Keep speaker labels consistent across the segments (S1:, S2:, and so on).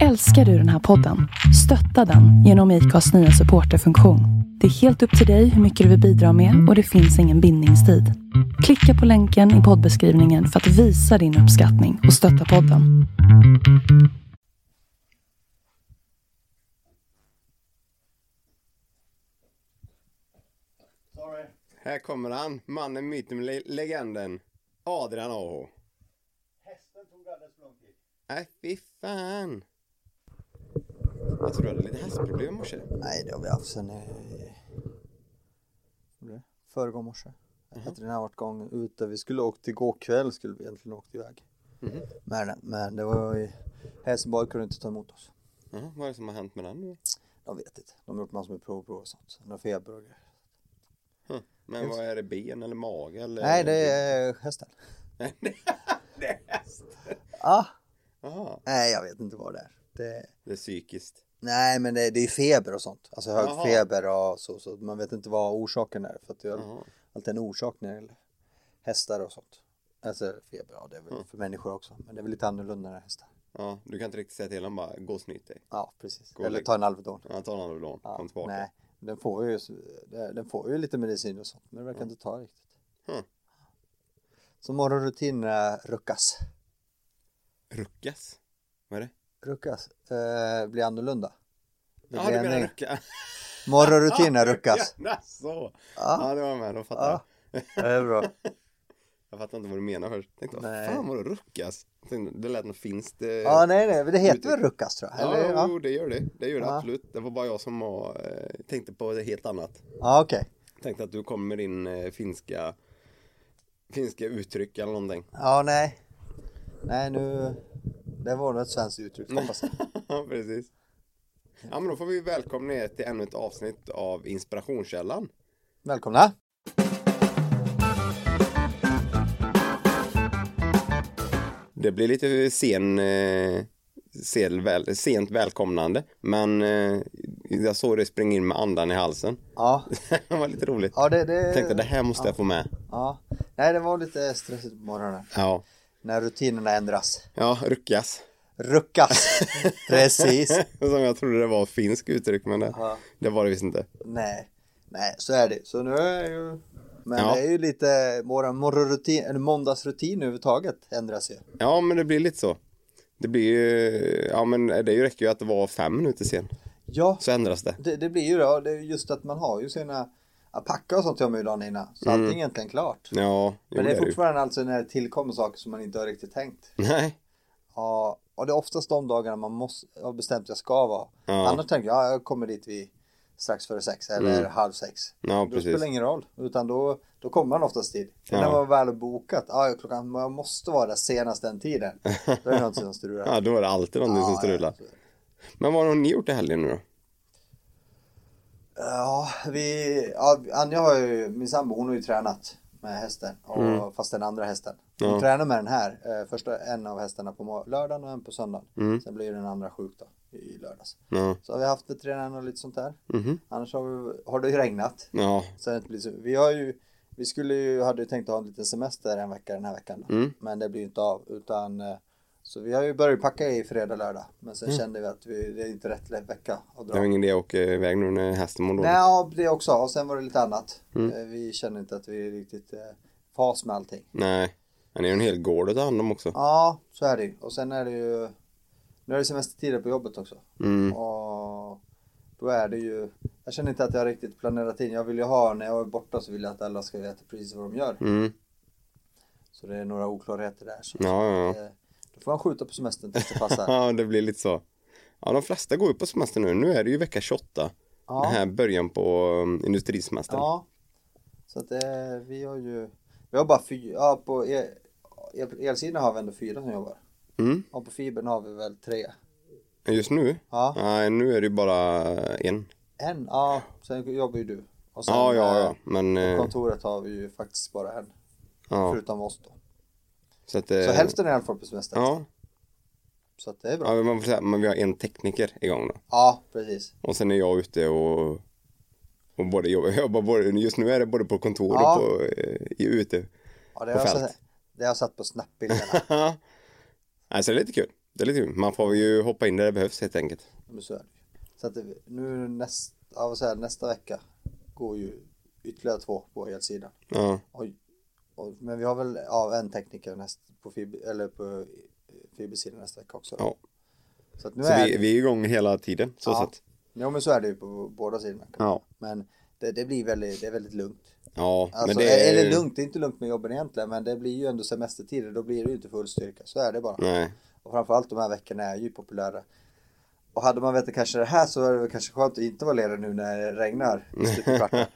S1: Älskar du den här podden? Stötta den genom IKAs nya supporterfunktion. Det är helt upp till dig hur mycket du vill bidra med och det finns ingen bindningstid. Klicka på länken i poddbeskrivningen för att visa din uppskattning och stötta podden.
S2: Här kommer han, mannen, myten, le- legenden. Adrian A.H. Hästen tog alldeles för lång tid. Nej, fy fan. Jag tror du hade lite hästproblem i morse.
S3: Nej, det har vi haft sen eh, i... vad var det? Mhm. Föregår morse. Efter den här varit gång ute. Vi skulle åkt igår kväll skulle vi egentligen åkt iväg. Men, men det var ju... Helsingborg kunde inte ta emot oss.
S2: Ja, vad är det som har hänt med den nu?
S3: De vet inte. De har gjort massor med provprov och sånt. Han har feber och grejer.
S2: Hm, Men vad är det, ben eller mage eller?
S3: Nej, det är hästen.
S2: det är häst.
S3: Ah,
S2: Jaha,
S3: nej, jag vet inte vad det är. Det...
S2: det är psykiskt.
S3: Nej, men det, det är feber och sånt. Alltså hög
S2: Jaha.
S3: feber och så, så. Man vet inte vad orsaken är. För att det är
S2: Jaha.
S3: alltid en orsak när det gäller hästar och sånt. Alltså feber, ja det är väl
S2: Mm.
S3: för människor också. Men det är väl lite annorlunda när det är hästar.
S2: Ja, du kan inte riktigt säga till honom bara, gå och snyt dig.
S3: Ja, precis.
S2: Gå och
S3: Eller
S2: lägg-
S3: ta en Alvedon.
S2: Ja, ta en Alvedon,
S3: Ja,
S2: kom tillbaka.
S3: Nej, den får, ju, den får ju lite medicin och sånt. Men det verkar inte ta riktigt.
S2: Mm.
S3: Så morgonrutinerna ruckas.
S2: Ruckas? Vad är det?
S3: Ruckas. Eh, blir annorlunda. Det
S2: Ja,
S3: blir
S2: du
S3: en
S2: menar
S3: ny-
S2: rucka?
S3: Morgonrutinerna ruckas.
S2: Ja, så.
S3: Ja,
S2: Ja, det var jag med, då fattar jag.
S3: ja. Det är bra.
S2: Jag fattar inte vad du menar först. Tänkte, vad
S3: Nej.
S2: fan vad det ruckas? Jag Tänkte, det lät något finskt. Eh...
S3: Ja, nej, nej, men det heter väl ruckas tror jag?
S2: ja,
S3: Eller, ja,
S2: Jo, det gör det. Det gör det
S3: Ja.
S2: absolut. Det var bara jag som var, eh, tänkte på det helt annat.
S3: ja okej.
S2: Tänkte att du kom med din eh, finska finska uttryck eller någonting.
S3: Ja, nej. Nej, nu... Det var nog ett svenskt uttryck, hoppas jag.
S2: Ja, precis. Ja, men då får vi välkomna er till ännu ett avsnitt av Inspirationskällan.
S3: Välkomna!
S2: Det blir lite sen, eh, sel, väl, sent välkomnande, men eh, jag såg dig springa in med andan i halsen.
S3: Ja,
S2: det var lite roligt.
S3: ja det... det...
S2: Jag tänkte det här måste jag få med.
S3: Ja. Nej, det var lite stressigt på morgonen.
S2: Ja,
S3: När rutinerna ändras.
S2: ja ruckas.
S3: Ruckas! Precis!
S2: Som jag trodde det var finsk uttryck men det,
S3: Ja.
S2: det var det visst inte.
S3: Nej, nej, så är det. Så nu är ju... Men
S2: Ja.
S3: det är ju lite... Vår morgonrutin, eller måndagsrutin överhuvudtaget ändras ju.
S2: Ja men det blir lite så. Det blir ju, ja men det räcker ju att det var fem minuter sen.
S3: Ja,
S2: Så ändras det.
S3: det, det blir ju då. Det är just att man har ju sina... Att packa och sånt gör man ju dagen innan. Så allting är egentligen klart.
S2: Ja, Mm. jo,
S3: Men det är
S2: ju.
S3: fortfarande alltså när det tillkommer saker som man inte har riktigt tänkt.
S2: Nej,
S3: Ja, och det är oftast de dagarna man måste, har bestämt att jag ska vara.
S2: Ja.
S3: Annars tänker jag, ja, jag kommer dit vid strax före sex eller halv sex.
S2: Mm. ja
S3: då spelar
S2: precis.
S3: det ingen roll, utan då, då kommer man oftast dit. För
S2: Ja.
S3: när man väl har bokat, ja, klockan, man måste vara där senast den tiden. Då är det något som strular.
S2: Ja då är det alltid någonting som strular.
S3: Ja,
S2: Men vad har ni gjort i helgen nu då?
S3: ja, vi, ja, Anja har ju, min sambo hon har ju tränat med hästen, och, fast den andra hästen. Hon
S2: Mm. Ja.
S3: tränar med den här, eh, första en av hästarna på mor- lördagen och en på söndagen.
S2: Mm.
S3: Sen blir den andra sjuk då, i lördags.
S2: Ja,
S3: Så har vi haft veterinären och lite sånt där.
S2: mhm.
S3: Annars har, vi, har det ju regnat.
S2: ja.
S3: Så det inte blir så, vi har ju, vi skulle ju, hade ju tänkt att ha en liten semester en vecka den här veckan. då.
S2: Mm.
S3: Men det blir ju inte av. Utan, eh, så vi har ju börjat packa i fredag, lördag. Men
S2: Mm.
S3: sen kände vi att vi, det är inte rätt lätt vecka att
S2: Det
S3: dra.
S2: var ingen idé att åka iväg nu när hästen mår
S3: Nej,
S2: dåligt.
S3: ja, det också. Och sen var det lite annat.
S2: Mm.
S3: Eh, Vi känner inte att vi är riktigt eh, fas med allting.
S2: Nej. Men det är ju en hel gård att ta hand om också.
S3: Ja, så är det ju. Och sen är det ju, nu är det semestertider på jobbet också.
S2: Mm.
S3: Och då är det ju, jag känner inte att jag riktigt planerat in. Jag vill ju ha, när jag är borta så vill jag att alla ska veta precis vad de gör.
S2: Mm.
S3: Så det är några oklarheter där. Så
S2: Ja, ja,
S3: eh, Då får man skjuta på semestern tills det
S2: ja.
S3: passar.
S2: Ja, det blir lite så. Ja, de flesta går ju på semester nu. Nu är det ju vecka 28.
S3: Ja.
S2: Den här början på um, industrisemestern.
S3: ja. Så att eh, vi har ju, vi har bara fyra, ja, på el, el, elsidan har vi ändå fyra som jobbar.
S2: Mm.
S3: Och på fibern har vi väl tre.
S2: Just nu?
S3: Ja,
S2: Nej, nu är det ju bara en.
S3: en, ja, sen jobbar ju du. Och sen,
S2: Ja, ja,
S3: eh,
S2: ja. Men,
S3: på
S2: eh,
S3: kontoret har vi ju faktiskt bara en,
S2: ja.
S3: förutom oss då.
S2: Så, att,
S3: Så
S2: eh,
S3: hälften är i alla fall på semestern.
S2: Ja,
S3: Så att det är bra.
S2: ja men man får säga, men vi har en tekniker igång då.
S3: Ja, precis.
S2: Och sen är jag ute och, och både jobbar, jag jobbar både, just nu är det både på kontor
S3: Ja.
S2: och på, eh, i- ute.
S3: Ja, det,
S2: På
S3: har jag
S2: fält.
S3: sett, det har jag satt på snappbilderna.
S2: Ja. alltså det är lite kul. Det är lite kul. Man får ju hoppa in där det behövs helt enkelt.
S3: Men så är det ju. Så att det, nu näst, ja, vad säger, jag, nästa vecka går ju ytterligare två på elsidan.
S2: Ja,
S3: Oj. Och, men vi har väl ja, en tekniker näst, på, fib, eller på eh, fibersidan nästa vecka också.
S2: ja.
S3: Så att nu
S2: Så
S3: är
S2: vi,
S3: det,
S2: vi är igång hela tiden. Så
S3: Ja.
S2: sett.
S3: ja, men så är det ju på båda sidorna. kan man
S2: Ja.
S3: Men det, det blir väldigt, det är väldigt lugnt.
S2: Ja,
S3: Alltså,
S2: men det är...
S3: Eller lugnt, det är inte lugnt med jobben egentligen, men det blir ju ändå semestertider, då blir det ju inte full styrka. Så är det bara.
S2: Nej.
S3: Och framförallt de här veckorna är ju populära. Och hade man vetat kanske det här så var det väl kanske skönt att inte vara ledig nu när det regnar. Slutet på kvarten.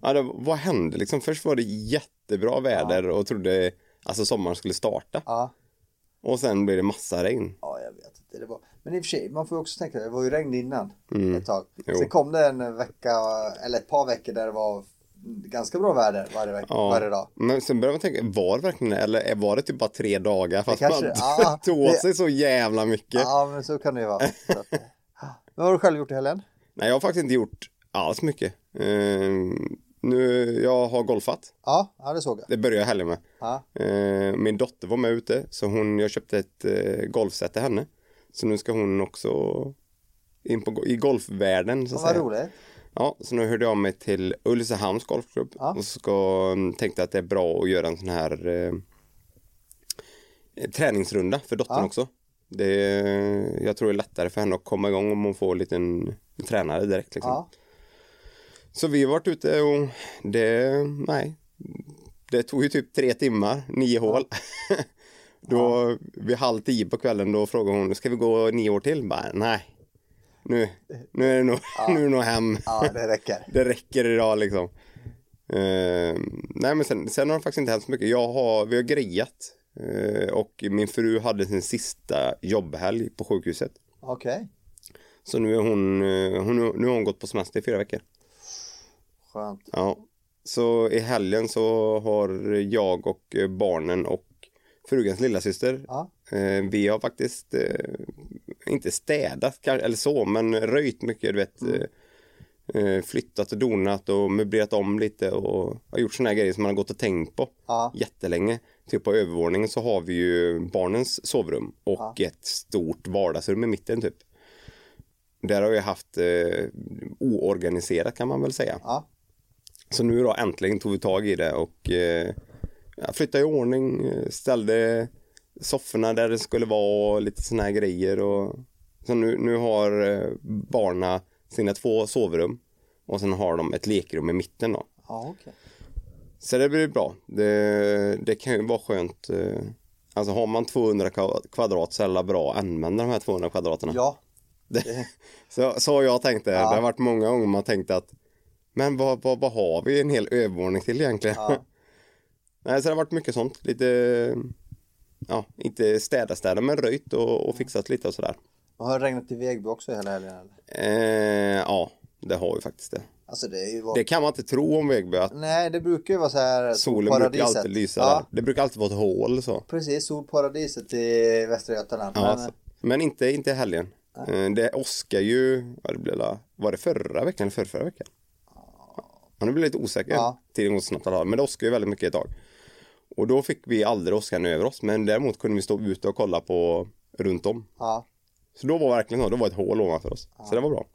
S2: ja, det, vad hände liksom? Först var det jättebra väder och trodde alltså sommaren skulle starta.
S3: ja,
S2: Och sen blev det massa regn.
S3: ja, jag vet inte. Det var... Men i och för sig, man får ju också tänka, det var ju regn innan ett tag.
S2: Mm. Jo.
S3: Sen kom det en vecka, eller ett par veckor där det var ganska bra väder varje, vecka,
S2: Ja.
S3: varje dag.
S2: Men sen började man tänka, var det verkligen det? Eller var det typ bara tre dagar? Fast
S3: kanske-
S2: man
S3: ja,
S2: tog
S3: det-
S2: åt sig så jävla mycket.
S3: Ja, men så kan det ju vara. Så att, Vad har du själv gjort i helgen?
S2: Nej, jag har faktiskt inte gjort alls mycket. Ehm, nu, jag har golfat.
S3: Ja, ja det såg jag.
S2: Det började jag helgen med.
S3: Ja,
S2: Ehm, min dotter var med ute, så hon, jag köpte ett eh, golfset till henne. Så nu ska hon också in på, go- i golfvärlden så att
S3: vad
S2: säga.
S3: roligt.
S2: Ja, så nu hörde jag av mig till Ulricehamns golfklubb
S3: Ja.
S2: och så ska, tänkte att det är bra att göra en sån här eh, träningsrunda för dottern
S3: Ja.
S2: också. Det, jag tror det är lättare för henne att komma igång om hon får en liten tränare direkt. Liksom.
S3: Ja,
S2: Så vi har varit ute och det, nej, det tog ju typ tre timmar, nio hål. då vid halv tio på kvällen då frågade hon, ska vi gå nio år till? Bara, nej, nu, nu är det nog, nu är det nog hem.
S3: ja det räcker.
S2: Det räcker idag liksom. Eh, nej men sen, sen har det faktiskt inte hänt så mycket. Jag har, vi har grejat eh, och min fru hade sin sista jobbhelg på sjukhuset.
S3: Okej,
S2: Så nu, är hon, eh, hon, nu har hon gått på semester i fyra veckor.
S3: skönt.
S2: Ja. Så i helgen så har jag och eh, barnen och frugans lillasyster,
S3: Ja.
S2: eh, vi har faktiskt eh, inte städat kanske, eller så, men röjt mycket, du vet. eh, Eh, flyttat och donat och möblerat om lite och har gjort såna här grejer som man har gått och tänkt på
S3: Ja.
S2: jättelänge. Typ på övervåningen så har vi ju barnens sovrum och ett stort vardagsrum i mitten typ. Där har vi haft eh, oorganiserat kan man väl säga.
S3: Ja,
S2: Så nu då äntligen tog vi tag i det och eh, ja, flyttade i ordning, eh, ställde sofforna där det skulle vara och lite såna här grejer. Och, så nu, nu har eh, barna sina två sovrum och sen har de ett lekrum i mitten då.
S3: ja okej.
S2: Så det blir bra. Det, det kan ju vara skönt. eh, Alltså har man 200 kva- kvadrat så är det bra att använda de här 200 kvadraterna.
S3: Ja,
S2: Det, så, så har jag tänkt det. Det har varit många gånger man tänkt att men vad, vad, vad har vi en hel övervåning till egentligen?
S3: Ja.
S2: Nej, så det har varit mycket sånt. Lite, ja, inte städa städa men röjt och, och fixat lite och sådär.
S3: och har det regnat i Vegby också hela helgen
S2: Eh,
S3: eller?
S2: ja, det har vi faktiskt det.
S3: Alltså det är ju... Var...
S2: Det kan man inte tro om Vegby att
S3: Nej, det brukar ju vara så här...
S2: solen brukar ju alltid lysa där.
S3: Ja,
S2: Det brukar alltid vara ett hål så.
S3: precis. Solparadiset i Västra Götaland.
S2: Ja,
S3: Men,
S2: alltså. Men inte, inte i helgen. Eh, Det åskar ju, ja, det blev, la- var det förra veckan eller förrförra veckan? Ja, nu blir jag lite osäker.
S3: Ja.
S2: Tiden går så snabbt alla dagar, men det åskar ju väldigt mycket ett tag. Och då fick vi aldrig åskan över oss, men däremot kunde vi stå ute och kolla på runt om.
S3: ja.
S2: Så då var det verkligen så, då var det ett hål ovanför oss. Så det var bra.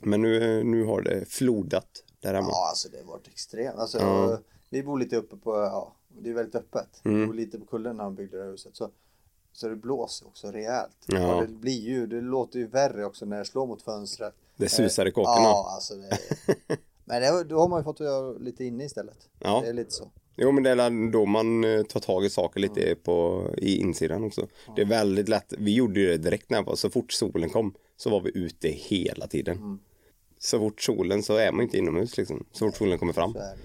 S2: Men nu, nu har det flodat där hemma.
S3: ja, alltså det har varit extremt. Alltså,
S2: Ja.
S3: Vi bor lite uppe på... Ja, det är väldigt öppet.
S2: Mm.
S3: Vi bor lite på kullen när de byggde det här huset. Så, så det blåser också rejält.
S2: Ja.
S3: Och det blir ju... Det låter ju värre också när det slår mot fönstret. Eh,
S2: Det susar i kåkorna.
S3: Ja, alltså det... Men det, då har man ju fått att göra lite inne istället.
S2: Ja.
S3: Det är lite så.
S2: Jo men det är väl då man eh, tar tag i saker lite på, i insidan också. Det är väldigt lätt, vi gjorde ju det direkt när jag var, så fort solen kom så var vi ute hela tiden. Så fort solen så är man inte inomhus liksom, så fort solen kommer fram.
S3: så är det.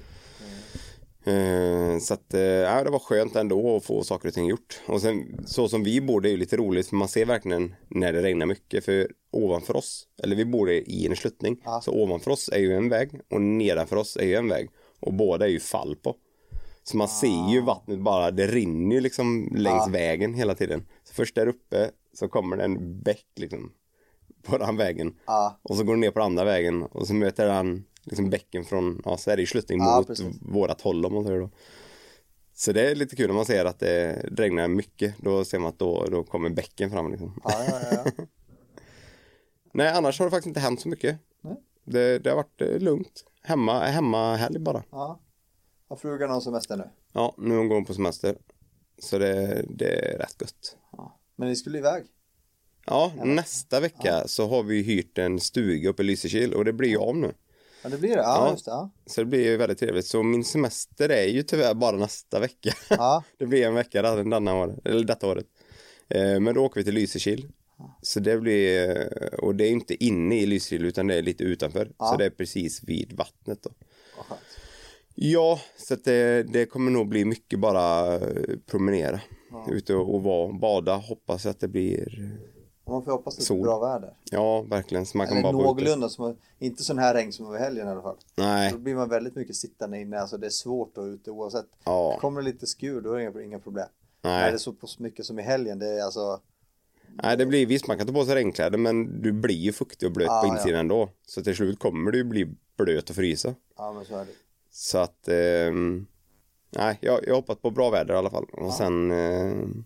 S2: Eh, Så att, eh, ja, det var skönt ändå att få saker och ting gjort. Och sen så som vi bor, det är ju lite roligt för man ser verkligen när det regnar mycket. För ovanför oss, eller vi bor i en sluttning, så ovanför oss är ju en väg och nedanför oss är ju en väg. Och båda är ju fall på. Så man ser ju vattnet bara, det rinner ju liksom längs vägen hela tiden. Så först där uppe så kommer det en bäck liksom på den vägen.
S3: Ja.
S2: Och så går den ner på den andra vägen och så möter den liksom bäcken från, ja så är det ju sluttning
S3: Ja,
S2: mot
S3: precis.
S2: vårat håll om man säger då. Så det är lite kul om man ser att det regnar mycket. Då ser man att då, då kommer bäcken fram. Liksom.
S3: Ja, ja, ja, ja.
S2: Nej, annars har det faktiskt inte hänt så mycket.
S3: Nej.
S2: Det, det har varit eh, lugnt. Hemma, hemma helg bara.
S3: ja. Har frugan någon semester nu?
S2: Ja, nu är hon går på semester. Så det, det är rätt gött.
S3: Ja. Men ni skulle iväg?
S2: Ja, nästa vecka så har vi hyrt en stuga uppe i Lysekil och det blir ju av nu.
S3: Ja, det blir det. Ja,
S2: Ja.
S3: just det. Ja.
S2: Så det blir ju väldigt trevligt. Så min semester är ju tyvärr bara nästa vecka.
S3: Ja.
S2: Det blir en vecka redan denna år, eller detta året. Eh, Men då åker vi till Lysekil. Så det blir, eh, och det är inte inne i Lysekil utan det är lite utanför.
S3: Ja.
S2: Så det är precis vid vattnet då.
S3: Vad skönt.
S2: Ja, så att det, det kommer nog bli mycket bara eh, promenera.
S3: Ja.
S2: Ute och, och vara, bada, hoppas att det blir,
S3: Och man får hoppas att det är
S2: Sol.
S3: bra väder.
S2: ja verkligen. Så man kan
S3: Eller
S2: bara vara ute.
S3: någorlunda. Som, inte sån här regn som över helgen i alla fall.
S2: Nej,
S3: Då blir man väldigt mycket sittande inne. Alltså det är svårt att vara ute oavsett.
S2: Ja.
S3: Kommer det lite skur då är det inga, inga problem.
S2: Nej.
S3: Är det så pass mycket som i helgen. Det är alltså.
S2: Nej, det blir visst man kan ta på sig regnkläder men du blir ju fuktig och blöt
S3: Ah,
S2: på
S3: ja.
S2: insidan ändå. Så till slut kommer du ju bli blöt och frysa.
S3: Ja men så är det.
S2: Så att, ehm, nej, jag, jag hoppas på bra väder i alla fall. Och sen, ehm,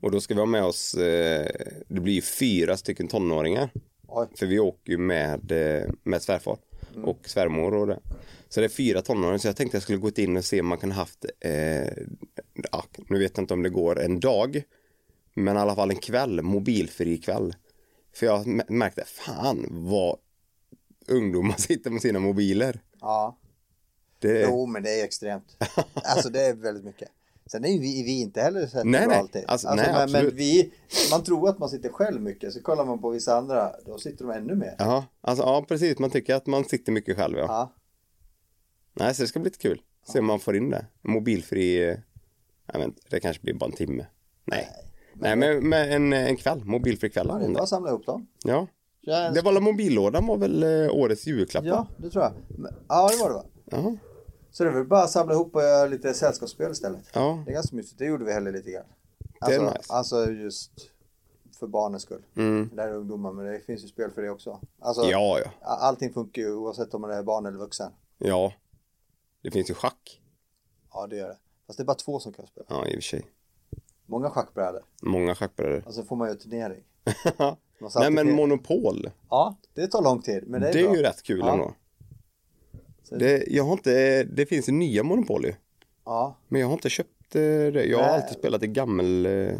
S2: och då ska vi ha med oss, eh, det blir ju fyra stycken tonåringar.
S3: Oj.
S2: För vi åker ju med, eh, med svärfar och svärmor och det. Så det är fyra tonåringar, så jag tänkte jag skulle gå in och se om man kan haft, eh, ja, nu vet jag inte om det går en dag, men i alla fall en kväll, mobilfri kväll. För jag m- märkte, fan vad ungdomar sitter med sina mobiler.
S3: Ja.
S2: Det,
S3: Jo men det är extremt. Alltså det är väldigt mycket. Sen är ju vi, vi inte heller så här
S2: Nej,
S3: bra
S2: nej.
S3: alltid.
S2: Alltså, nej,
S3: men, men
S2: absolut.
S3: vi, man tror att man sitter själv mycket. Så kollar man på vissa andra. Då sitter de ännu mer.
S2: Ja, alltså, ja, precis. Man tycker att man sitter mycket själv. Ja.
S3: Ja.
S2: Nej, så det ska bli lite kul. Se om man får in det. Mobilfri... eh, Jag vet inte, det kanske blir bara en timme. Nej. Nej, men, men en, en kväll. Mobilfri kväll.
S3: Ja, det är bara att samla ihop dem.
S2: Ja.
S3: Ja,
S2: Det var väl mobillådan var väl eh, årets julklapp?
S3: Ja, det tror jag. Men- Ja, det var det va?
S2: Ja.
S3: Så det är väl bara att samla ihop och göra lite sällskapsspel istället.
S2: Ja.
S3: Det är ganska mysigt. Det gjorde vi heller lite grann.
S2: Det är
S3: Alltså,
S2: nice.
S3: alltså just för barnens skull.
S2: Mm.
S3: Det här är ungdomar, men det finns ju spel för det också. Alltså,
S2: ja, ja.
S3: a- allting funkar ju oavsett om man är barn eller vuxen.
S2: Ja. Det finns ju schack.
S3: Ja, det gör det. Fast det är bara två som kan spela.
S2: Ja, i och för sig.
S3: Många schackbrädor.
S2: Många schackbrädor.
S3: Och så får man ju turnering. Man satt
S2: Nej, men
S3: i-
S2: Monopol.
S3: Ja, det tar lång tid, men det
S2: Det
S3: är,
S2: är,
S3: bra.
S2: ju rätt kul
S3: Ja.
S2: ändå.
S3: Så-
S2: Det, jag har inte, det finns ju nya Monopol ju.
S3: Ja,
S2: Men jag har inte köpt eh, det. Jag har
S3: Nej.
S2: alltid spelat det gammel... eh,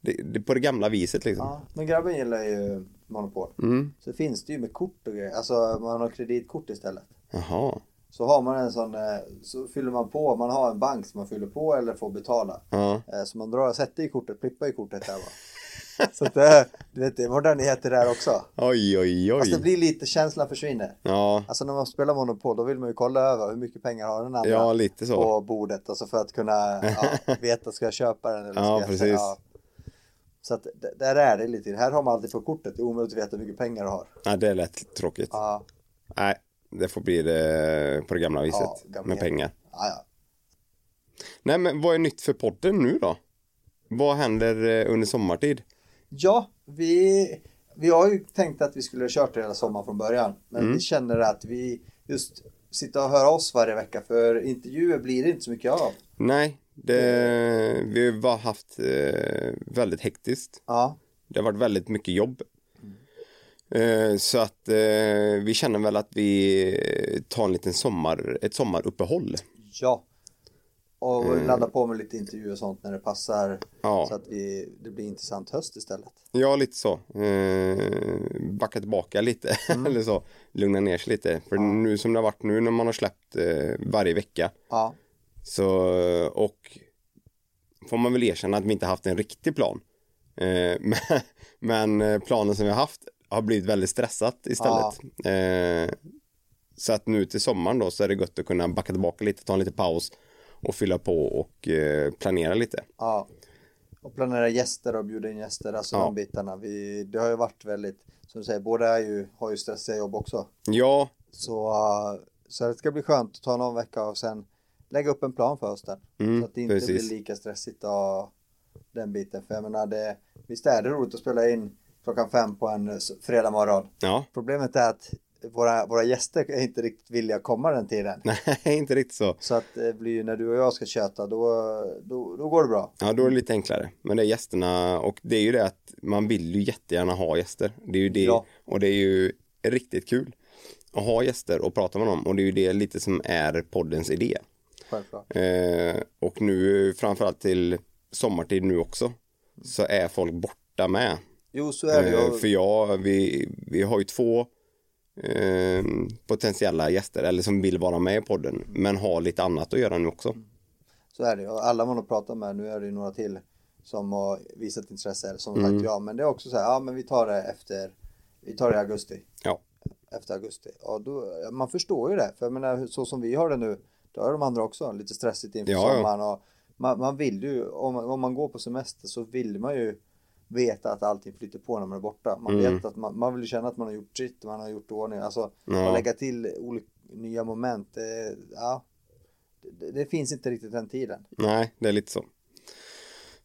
S2: Det, det, på det gamla viset liksom.
S3: ja. Men grabben gillar ju Monopol.
S2: Mm.
S3: Så finns det ju med kort och grejer. Alltså, man har kreditkort istället.
S2: Jaha.
S3: Så har man en sån, eh, så fyller man på, man har en bank som man fyller på eller får betala.
S2: Ja.
S3: Eh, Så man drar, sätter i kortet, plippar i kortet där va. Så att det, du vet, det är moderniteter där också.
S2: Oj, oj, oj.
S3: Fast det blir lite, känslan försvinner.
S2: Ja.
S3: Alltså när man spelar Monopol då vill man ju kolla över hur mycket pengar har den andra
S2: ja, lite så.
S3: på bordet. Alltså för att kunna ja, veta, ska jag köpa den eller ska
S2: Ja,
S3: jag
S2: precis.
S3: Så att d- där är det lite, här har man alltid på kortet, det är omöjligt att veta hur mycket pengar du har.
S2: Ja, det är lätt tråkigt.
S3: Ja,
S2: Nej, det får bli det på det gamla viset.
S3: Ja, gamla.
S2: Med pengar.
S3: ja, ja.
S2: Nej, men vad är nytt för podden nu då? Vad händer eh, under sommartid?
S3: Ja, vi, vi har ju tänkt att vi skulle ha kört det hela sommaren från början. Men vi känner att vi just sitter och hör oss varje vecka för intervjuer blir det inte så mycket av.
S2: Nej, det,
S3: Eh.
S2: vi har bara haft eh, väldigt hektiskt.
S3: Ja,
S2: Det har varit väldigt mycket jobb. Eh, Så att eh, vi känner väl att vi tar en liten sommar, ett sommaruppehåll.
S3: ja. Och ladda på med lite intervjuer och sånt när det passar.
S2: Ja.
S3: Så att vi, det blir intressant höst istället.
S2: Ja, lite så. Eh, Backa tillbaka lite eller så. Lugna ner sig lite. För nu som det har varit nu när man har släppt eh, varje vecka.
S3: Ja,
S2: Så, eh, och får man väl erkänna att vi inte haft en riktig plan. Eh, Men, men eh, planen som vi har haft har blivit väldigt stressat istället. Eh, Så att nu till sommaren då så är det gött att kunna backa tillbaka lite, ta en liten paus och fylla på och eh, planera lite.
S3: ja. Och planera gäster och bjuda in gäster, alltså
S2: Ja.
S3: de bitarna. Vi, det har ju varit väldigt, som du säger, båda är ju, har ju stressiga jobb också.
S2: Ja,
S3: Så, eh, så det ska bli skönt att ta någon vecka och sen lägga upp en plan för hösten.
S2: Mm,
S3: så att det inte
S2: precis.
S3: blir lika stressigt och den biten. För jag menar, det, visst är det roligt att spela in klockan fem på en s- fredag morgon.
S2: ja,
S3: Problemet är att våra, våra gäster är inte riktigt villiga att komma den tiden.
S2: Nej, inte riktigt så.
S3: Så att det blir ju när du och jag ska köta då, då, då går det bra.
S2: Ja, då är det lite enklare. Men det är gästerna och det är ju det att man vill ju jättegärna ha gäster. Det är ju det
S3: Ja.
S2: och det är ju riktigt kul att ha gäster och prata med dem och det är ju det lite som är poddens idé.
S3: Självklart.
S2: Eh, och nu framförallt till sommartid nu också så är folk borta med.
S3: Jo, så är det ju.
S2: Eh, För jag, vi, vi har ju två eh, potentiella gäster eller som vill vara med i podden men har lite annat att göra nu också.
S3: Så är det ju. Och alla man har pratat med, nu är det ju några till som har visat intresse eller som har sagt
S2: Mm.
S3: ja. Men det är också så här, ja men vi tar det efter, vi tar det i augusti.
S2: Ja,
S3: Efter augusti. Ja, då, man förstår ju det. För jag menar, så som vi har det nu, då är de andra också lite stressigt inför
S2: Ja, ja.
S3: sommaren. Och man, man vill ju, om, man- om man går på semester så vill man ju veta att allting flyter på när man är borta. Man
S2: Mm.
S3: vet att man, man vill ju känna att man har gjort sitt, man har gjort i ordning. Alltså,
S2: Ja.
S3: att lägga till olika nya moment, det, ja. Det, det finns inte riktigt den tiden.
S2: nej, det är lite så.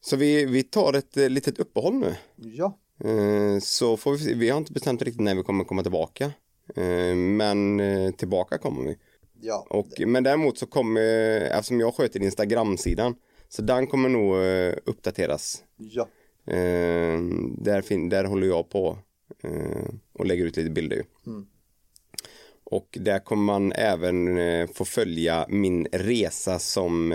S2: Så vi, vi tar ett eh, litet uppehåll nu.
S3: Ja,
S2: Eh, Så får vi, se. vi har inte bestämt riktigt när vi kommer komma tillbaka. Eh, Men eh, tillbaka kommer vi.
S3: ja.
S2: Och, men däremot så kommer, eh, eftersom jag sköter Instagram-sidan, så den kommer nog eh, uppdateras.
S3: ja.
S2: Eh, Där, fin- där håller jag på eh, och lägger ut lite bilder. ju. Och där kommer man även eh, få följa min resa som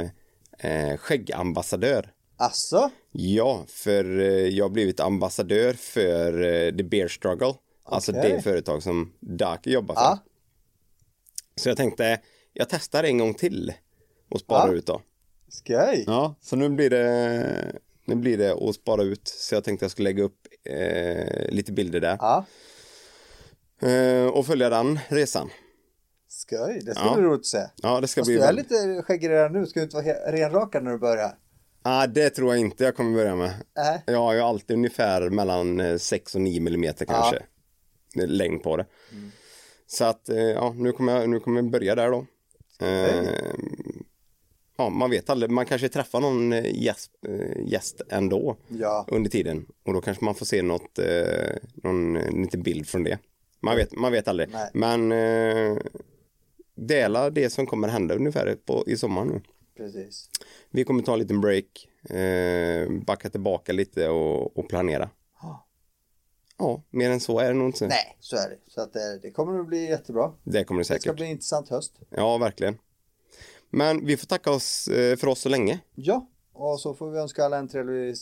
S2: eh, skäggambassadör.
S3: Alltså,
S2: Ja, för eh, jag har blivit ambassadör för eh, The Beer Struggle. Alltså
S3: Okej.
S2: det företag som Daki jobbar för.
S3: ja.
S2: Så jag tänkte, jag testar en gång till och sparar
S3: Ja.
S2: ut då.
S3: Skoj.
S2: Ja, så nu blir det nu blir det att spara ut. Så jag tänkte jag skulle lägga upp eh, lite bilder där.
S3: Ja,
S2: Eh, och följa den resan.
S3: skoj. Det ska
S2: Ja.
S3: bli roligt att se.
S2: Ja, det ska
S3: Fast
S2: bli
S3: du är
S2: väldigt...
S3: lite skäggig redan nu, ska du inte vara he- renrakad när du börjar? Äh.
S2: ah, det tror jag inte jag kommer börja med.
S3: Nej.
S2: Jag har ju alltid ungefär mellan 6 och 9 millimeter kanske. eh, Längd på det. Så att eh, ja, nu kommer jag, nu kommer jag börja där då. Eh, ja, man vet aldrig, man kanske träffar någon eh, gäst, eh, gäst ändå
S3: Ja,
S2: under tiden. Och då kanske man får se något, eh, någon eh, liten bild från det. Man vet, man vet aldrig.
S3: Nej.
S2: Men eh, dela det som kommer hända ungefär på, i sommar nu.
S3: precis.
S2: Vi kommer ta en liten break, eh, backa tillbaka lite och, och planera.
S3: Ja.
S2: Ja, mer än så är det nog inte.
S3: Nej, så är det. Så att eh, det, det kommer att bli jättebra.
S2: Det kommer det
S3: Det ska
S2: säkert.
S3: bli en intressant höst.
S2: Ja, verkligen. Men vi får tacka oss eh, för oss så länge.
S3: Ja, och så får vi önska alla en trevlig,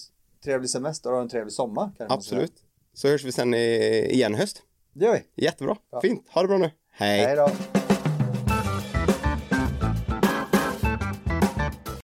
S3: trevlig semester och en trevlig sommar. Kan man säga.
S2: Absolut. Så hörs vi sen eh, igen i höst.
S3: Det gör vi.
S2: Jättebra.
S3: Ja.
S2: Fint. Ha det bra nu.
S3: Hej då.